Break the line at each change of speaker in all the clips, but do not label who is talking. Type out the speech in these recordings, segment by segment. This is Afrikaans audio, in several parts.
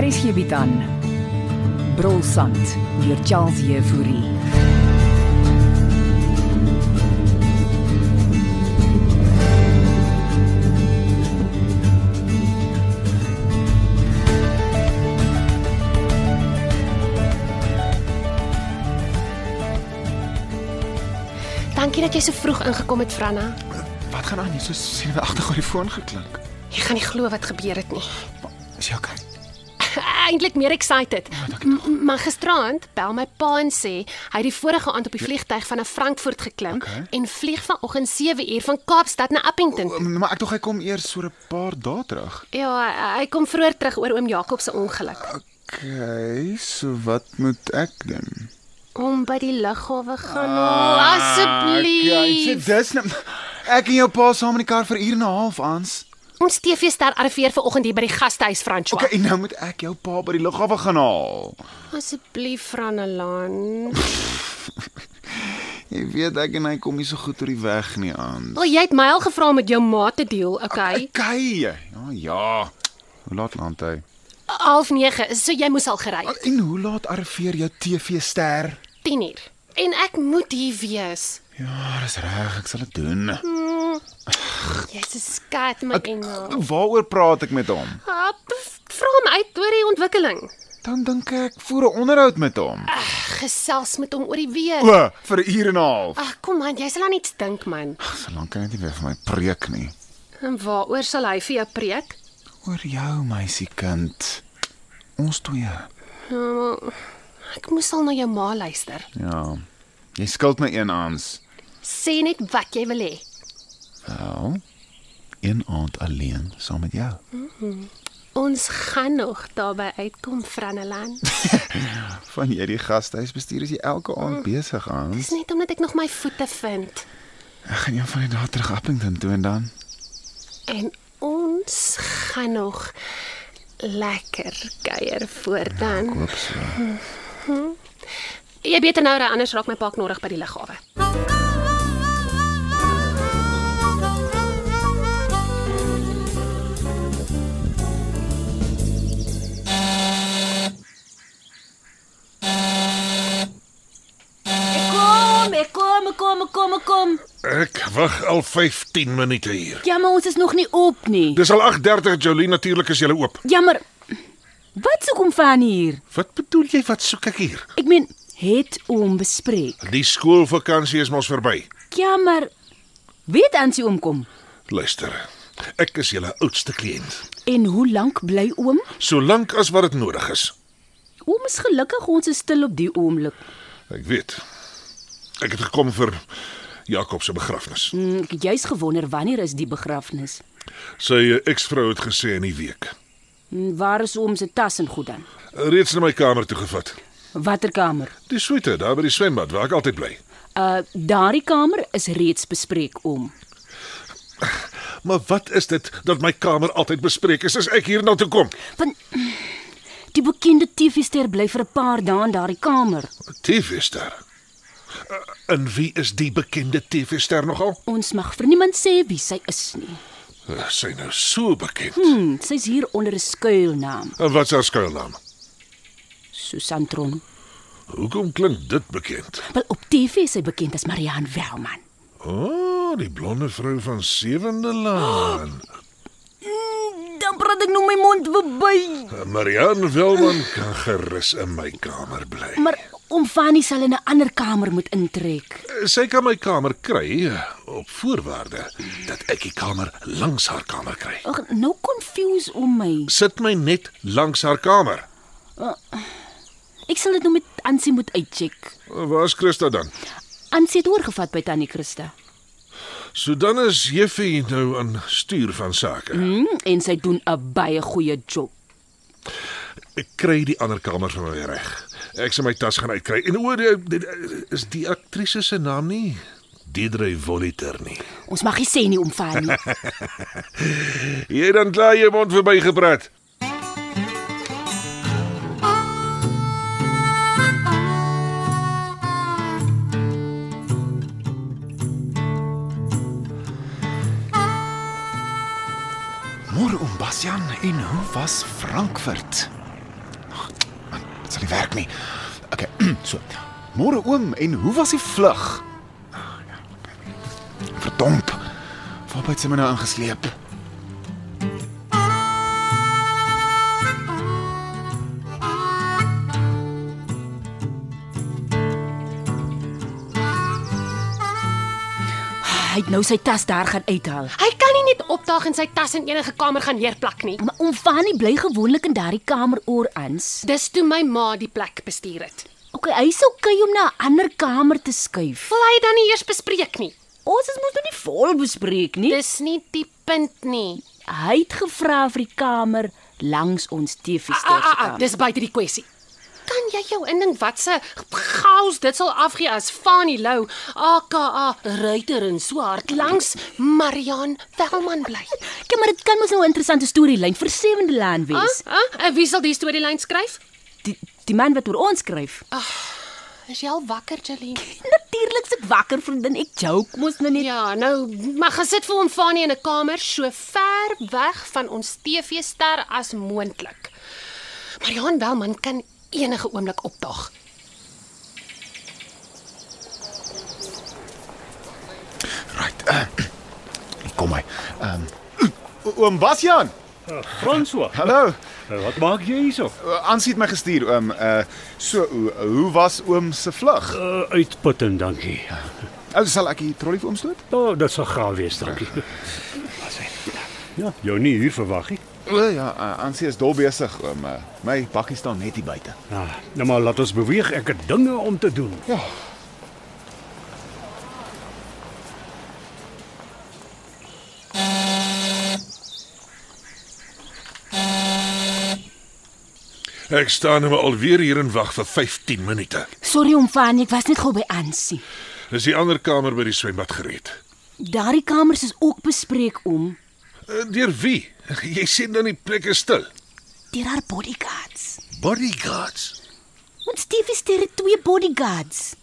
Hier is hierby dan. Brolsand deur Charles Jefouri.
Dankie dat jy so vroeg ingekom het, Franna.
Wat gaan aan? Jy so sien my agter oor die foon geklink.
Jy gaan nie glo wat gebeur het nie.
Is jy okay? Ja,
Eintlik meer excited. M- Maar gisterand bel my pa en sê hy het die vorige aand op die vliegtyg van Frankfurt geklim
Okay.
en vlieg vanoggend 7 uur van Kaapstad na Appington.
O, Mm, maar ek dink hy kom eers so 'n paar dae terug.
Ja, hy- hy kom vroeër terug oor oom Jakob se ongeluk.
Okay, so wat moet ek doen?
Om by die lughawe gaan haal asseblief.
so dis nou ek en jou pa saam in die kar vir ure en 'n half aans.
Ons TV-ster arriveer vanoggend hier by die gastehuis François.
Okay, en nou moet ek jou pa by die lughawe gaan haal.
Asseblief Franelan.
Jy weet ek en hy kom nie so goed oor die weg nie aan.
Wel jy het my al gevra om met jou ma te deel, okay?
Okay. Ja, ja. Hoe laat land hy?
Half 9, so jy moes al gery.
En hoe laat arriveer jou TV-ster?
10 uur. En ek moet hier wees.
Ja, dis reg, ek sal dit doen.
Jy's 'n skat my engel.
Nou, Waaroor praat ek met hom?
Ah, pff, Vra hom uit oor die ontwikkeling.
Dan dink ek voer 'n onderhoud met hom.
Gesels met hom oor die weer.
O, vir 'n uur en 'n half.
Ag kom man, jy sal aan iets dink man.
Solank hy net nie weer vir my preek nie.
En waaroor sal hy vir jou preek?
Oor jou, meisiekind. Ons twee.
Ek moes al na jou ma luister.
Ja. Jy skuld my een aans.
Sê net wat jy wil hê.
Wel, een aand alleen saam met jou.
Ons gaan nog daarby uitkom, Franelan.
Van jy die gastehuis bestuur is jy elke aand besig aan.
Dis net omdat ek nog my voete vind
Ek gaan jou van die dag terug Appington toe en dan.
en ons gaan nog lekker kuier voortaan. Ja,
Koop so.
Jy beter nou ry anders raak my pa knorrig by die lughawe.
Ek kom, ek kom, ek kom, ek kom, ek kom.
Ek wag al 15 minute hier.
Jammer, ons is nog nie op nie.
Dis al 8:30 Jolene natuurlik is jy oop.
Jammer. Wat soek hom van hier?
Wat bedoel jy wat soek ek hier?
Ek meen, het hom bespreek.
Die skoolvakansie is mos verby.
Jammer. Weet Ansie omkom.
Luister. Ek is julle oudste kliënt.
En hoe lank bly oom?
Solank as wat dit nodig is.
Oom is gelukkig ons is stil op die oomblik.
Ek weet. Ek het gekom vir Jakob se begrafnis.
Hm, ek het juis gewonder wanneer is die begrafnis?
Sy eh, eksvrou het gesê in die week.
Hm, waar is oom se tas en goed dan?
Reeds na my kamer toe gevat.
Watter kamer?
Die suite daar by die swembad waar ek altyd bly.
Uh daardie kamer is reeds bespreek oom.
Maar wat is dit dat my kamer altyd bespreek is as ek hiernatoe kom?
Want die bekende TV-ster bly vir 'n paar dae in daardie kamer.
TV-ster. Uh, En wie is die bekende TV-ster nogal?
Ons mag vir niemand sê wie sy is nie.
Uh, Sy nou so bekend.
Hmm, sy's hier onder 'n skuilnaam,
En wat is haar skuilnaam?
Susantron.
Hoekom klink dit bekend?
Wel op TV is sy bekend as Marian Velman.
O, oh, die blonde vrou van Sewende Laan.
Dan praat ek nou my mond verby.
Uh, Marianne Wilman kan gerus in my kamer bly.
Maar om Fanny sal in 'n ander kamer moet intrek.
Uh, Sy kan my kamer kry uh, op voorwaarde dat ek die kamer langs haar kamer kry.
Ag, nou confuse om my.
Sit my net langs haar kamer.
Ek sal dit nou met Ansie moet uitcheck.
Uh, Waar's Christa dan?
Ansie het oorgevat by Tannie Christa.
So dan is Jeffie nou aan stuur van sake.
Hmm, en sy doen 'n baie goeie job.
Ek kry die ander kamer vir my weer reg. Ek sal my tas gaan uitkry. En oor eh, is die aktrise se naam nie Deidre Voliter nie.
Ons mag nie sê nie om Fanny.
Jy het dan klaar jou mond verby gepraat.
Sebastian, en hoe was Frankfurt? Ag, Man, dit sal nie werk nie. Okay, so. Môre oom, en hoe was die vlug? Verdomp. Waarby het sy my nou aangesleep?
Hy het nou sy tas daar gaan uithaal.
Hy kan nie net opdaag en sy tas in enige kamer gaan neerplak nie.
Maar oom Fanny bly gewoonlik in daardie kamer oor ans.
Dis toe my ma die plek bestuur het.
OK, hy's okay om na 'n ander kamer te skuif.
Wil hy dan nie eers bespreek nie.
Ons is mos nog nie vol bespreek nie.
Dis nie die punt nie.
Hy het gevra vir die kamer langs ons TV-ster se
Ah, ah, ah,
kamer.
dis buite die kwessie. Kan jy jou indink wat se chaos dit sal afgee as Fanie Lou, AKA ruiter in swart langs Marian Velman bly?
Ja, maar dit kan mos nou 'n interessante storielyn vir Sewende Laan
Ah,
wees.
ah, en wie sal die storielyn skryf?
Die die man wat oor ons skryf.
Ah. Is jy al wakker, Jeline?
Natuurlik sit wakker vriendin, ek joke mos nou net.
Ja, nou maar gesit vir hom Fanie in 'n kamer so ver weg van ons TV-ster as moontlik. Marian Velman kan enige oomblik opdaag.
Right. Uh, kom my. Ehm um, oom Bastian.
François,
Hallo.
eh, wat maak jy hierso?
Ansie het my gestuur oom. Uh so hoe, hoe was oom se vlug?
Uh, uitputting, dankie.
Ou sal ek die trollie vir oom stoot?
O, oh, dit sal gaaf wees, dankie. Wat sê? Ja, jou nie hier verwag nie.
O ja, uh, Ansie is dol besig oom. Uh, my bakkie staan net hier buite.
Nou, nou maar laat ons beweeg. Ek het dinge om te doen.
Ja.
Ek staan nou maar alweer hier en wag vir 15 minute.
Sorry oom Fanny, ek was net gou by Ansie.
Is die ander kamer by die swembad gereed?
Daardie kamers is ook bespreek om
Eh, Deur wie? Jy sien dan die plek is stil.
deur haar bodyguards.
Bodyguards.
Ons TV-ster het twee bodyguards.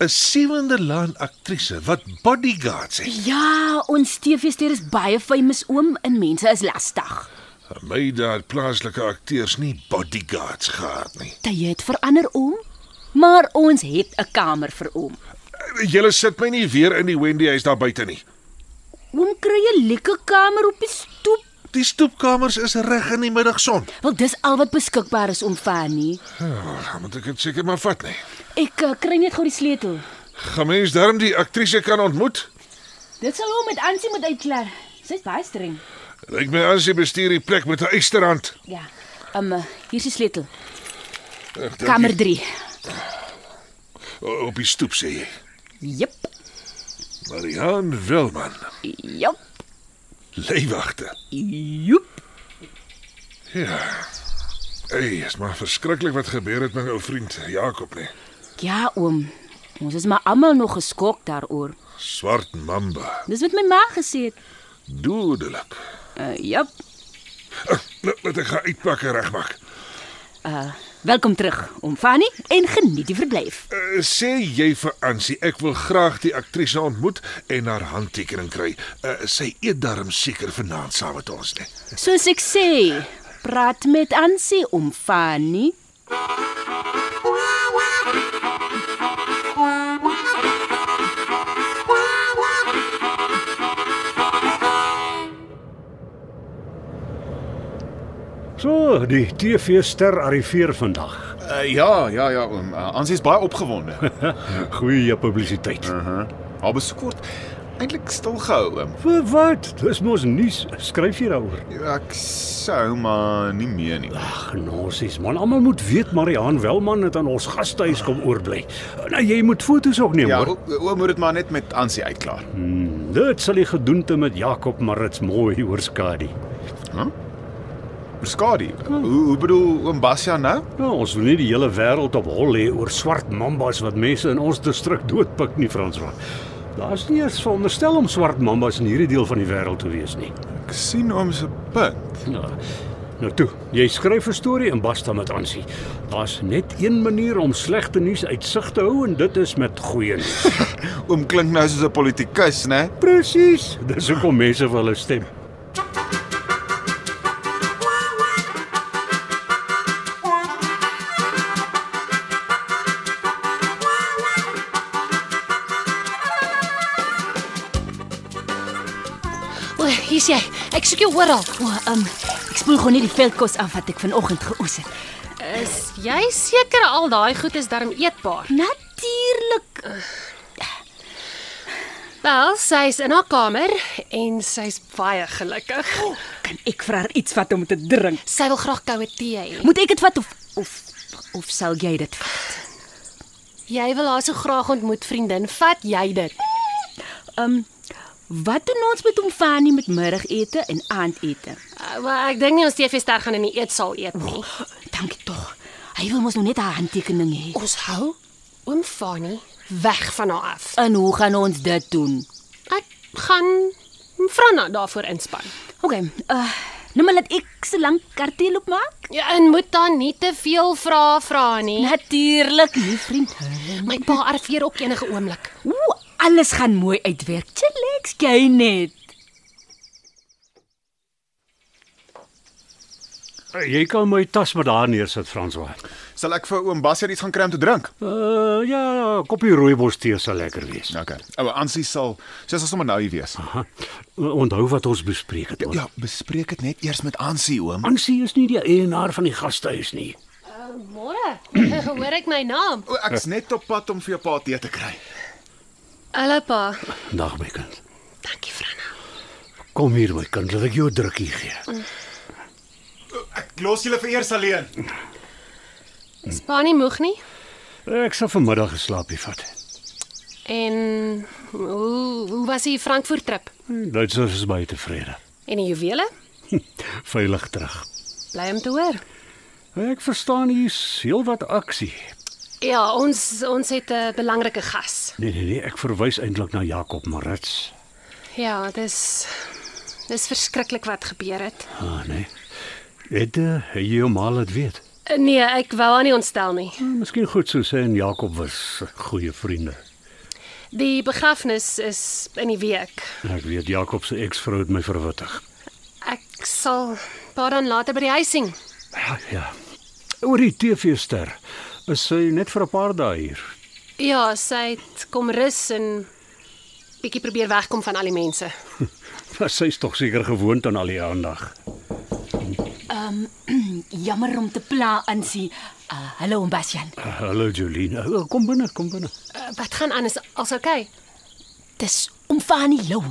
'n Sewende laan aktrise wat bodyguards het.
Ja, ons TV-ster is baie famous oom en mense is lastig.
My daad plaaslike akteurs nie bodyguards gehad nie.
Jy het verander oom, maar ons het 'n kamer vir oom.
Eh, Julle sit my nie weer in die Wendy huis daar buite nie.
Oom kry 'n lekker kamer op die stoep.
Die stoepkamers is reg in die middagson.
Wel dis al wat beskikbaar is om Fanny.
Ja, moet ek dit seker maar vat nie.
Ek uh, kry net gou die sleutel.
Gaan mens darm die aktrise kan ontmoet?
Dit sal hom met Ansie moet uitklaar. Sy's baie streng.
Lyk my as jy bestuur die plek met 'n eysterhand.
Ja. Um uh, hier's die sleutel.
Ek dink
Kamer 3.
o- Op die stoep sê jy.
Jep. Ja,
Marian Wilman,
Jep.
leiwagte.
Jep.
Ja. Hey, is maar verskriklik wat gebeur het met my ou vriend Jakob nie.
Ja, oom. Ons is maar almal nog geskok daaroor.
Swart mamba,
Dis wat my ma gesê het.
dodelik.
Uh, jep.
Nou, laat ek gaan uitpak en regmaak.
Welkom terug, oom Fanny, en geniet die verblyf.
Uh, sê jy vir Ansie ek wil graag die aktrise ontmoet en haar handtekening kry. Uh, sy eet darm seker vanaand saam met ons, né?
Soos ek sê, praat met Ansie oom Fanny.
So, die TV-ster arriveer vandag.
Uh, ja, ja, ja oom. Uh, Ansie is baie opgewonde.
Goeie publisiteit.
Haar besoek word eintlik stil gehou oom.
Vir wat? Dis mos nuus. Skryf jy daaroor?
Ek sou maar nie meer nie.
Ag, nosies man, almal moet weet Mariaan Welman het aan ons gastehuis kom oorbly. Nou jy moet fotos ook neem
Ja,
hoor.
o- oom Hm. moet dit maar net met Ansie uitklaar.
Dit sal die gedoente met Jakob Marits mooi oorskadu.
Skadu. Hoe hoe bedoel oom Bastian nou?
Nou, ons wil nie die hele wêreld op hol hê oor swart mambas wat mense in ons distrik doodpik nie, Franswa. Daar's nie eens veronderstel om swart mambas in hierdie deel van die wêreld te wees nie.
Ek sien oom se punt.
Nou, nou toe, jy skryf 'n storie en basta met Ansie. Daar's net een manier om slegte nuus uitsig te hou en dit is met goeie nuus.
Oom klink nou soos 'n politikus, né?
Presies, dis hoekom mense vir hulle stem.
is jy? Ek soek jou oral.
O, um, ek spoel gou net die veldkos af wat ek vanoggend geoes het.
Is jy seker al daai goed is darm eetbaar?
Natuurlik.
Wel, sy's in haar kamer en sy's baie gelukkig.
Kan ek vir haar iets vat om te drink?
Sy wil graag koue tee hê.
Moet ek dit vat of of of sal jy dit vat?
Jy wil haar so graag ontmoet, vriendin. Vat jy dit?
Wat doen ons met hom Fanny met middagete en aandete?
Uh, maar ek dink nie ons TV-ster gaan in die eetsaal eet nie.
Dankie tog. Hy wil mos nog net haar handtekening hê.
Ons hou oom Fani weg van haar af.
En hoe gaan ons dit doen?
Ek gaan Franna daarvoor inspann.
OK. Uh, nou maar laat ek so lank karteel op maak.
Ja, en moet dan nie te veel vrae vra nie.
Natuurlik, nie vriend.
Nee, My pa arriveer ook enige oomblik.
Ooh, alles gaan mooi uitwerk. Chillax, jy net.
Eh, Jy kan my tas maar daar neersit, François.
Sal ek vir oom Bassie iets gaan kry om te drink?
Uh ja, 'n koppie rooibos tee sal lekker wees.
Okay. Ou Ansie sal sies sommer nou hier wees.
Ha, Onthou wat ons bespreek het.
Ja, bespreek dit net eers met Ansie oom.
Ansie is nie die eienaar van die gastehuis nie.
Môre, hoor ek my naam.
O, ek's net op pad om vir jou pa tee te kry.
Hallo pa.
Dag my kind.
Dankie Franna.
Kom hier my kind, laat ek jou 'n drukkie gee.
Ek los julle vir eers alleen.
Spanie moeg nie.
Ek sal vanmiddag 'n slaapie vat.
En hoe hoe was die Frankfurt trip?
Die Duitsers is baie tevrede.
En die juwele?
Veilig terug.
Bly om te hoor.
Ek verstaan hier's heelwat aksie.
Ja, ons ons het 'n belangrike gas.
Nee nee nee, ek verwys eintlik na Jakob Marits.
Ja, dis dis verskriklik wat gebeur het.
Ah nee. Het eh, het jy hom al laat weet?
Eh, Nee, ek wou aan nie ontstel nie.
Hm, Miskien goed so sê en Jakob was goeie vriende.
Die begrafnis is in die week.
Ek weet Jakob se eksvrou het my verwittig.
Ek sal pa dan later by die huis sien.
Ja, ja. Oor die TV-ster. Is sy net vir 'n paar dae hier?
Ja, sy het kom rus en bietjie probeer wegkom van al die mense. Eh,
Maar sy's tog seker gewoond aan al die aandag.
Jammer om te pla, Ansie. Uh, hallo, Bastian.
Ah, Hallo Jolene. Oh, Kom binne, kom binne.
Uh, wat gaan aan is als okay?
Dis om Fanny Lou.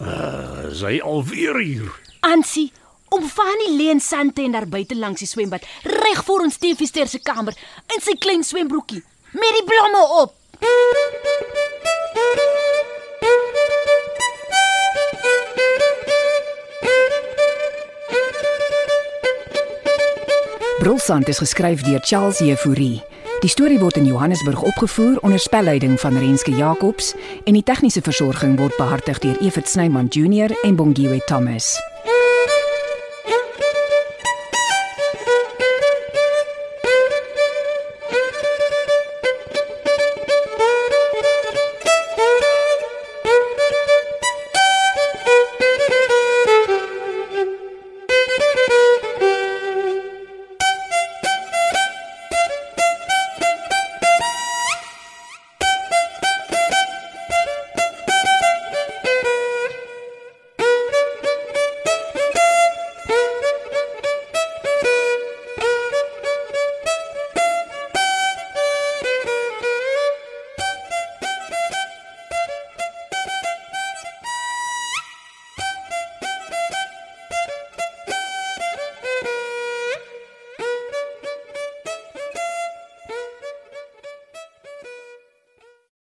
Uh, sy alweer hier.
Ansie, om Fanny leen sande en daar buite langs die swembad, reg voor ons TV-ster se kamer, in sy klein swembroekie met die blomme op.
Brolsand is geskryf deur Charles Jefouri. Die storie word in Johannesburg opgevoer onder spelleiding van Renske Jacobs en die tegniese versorging word behartig deur Evert Snyman Junior en Bongwe Thomas.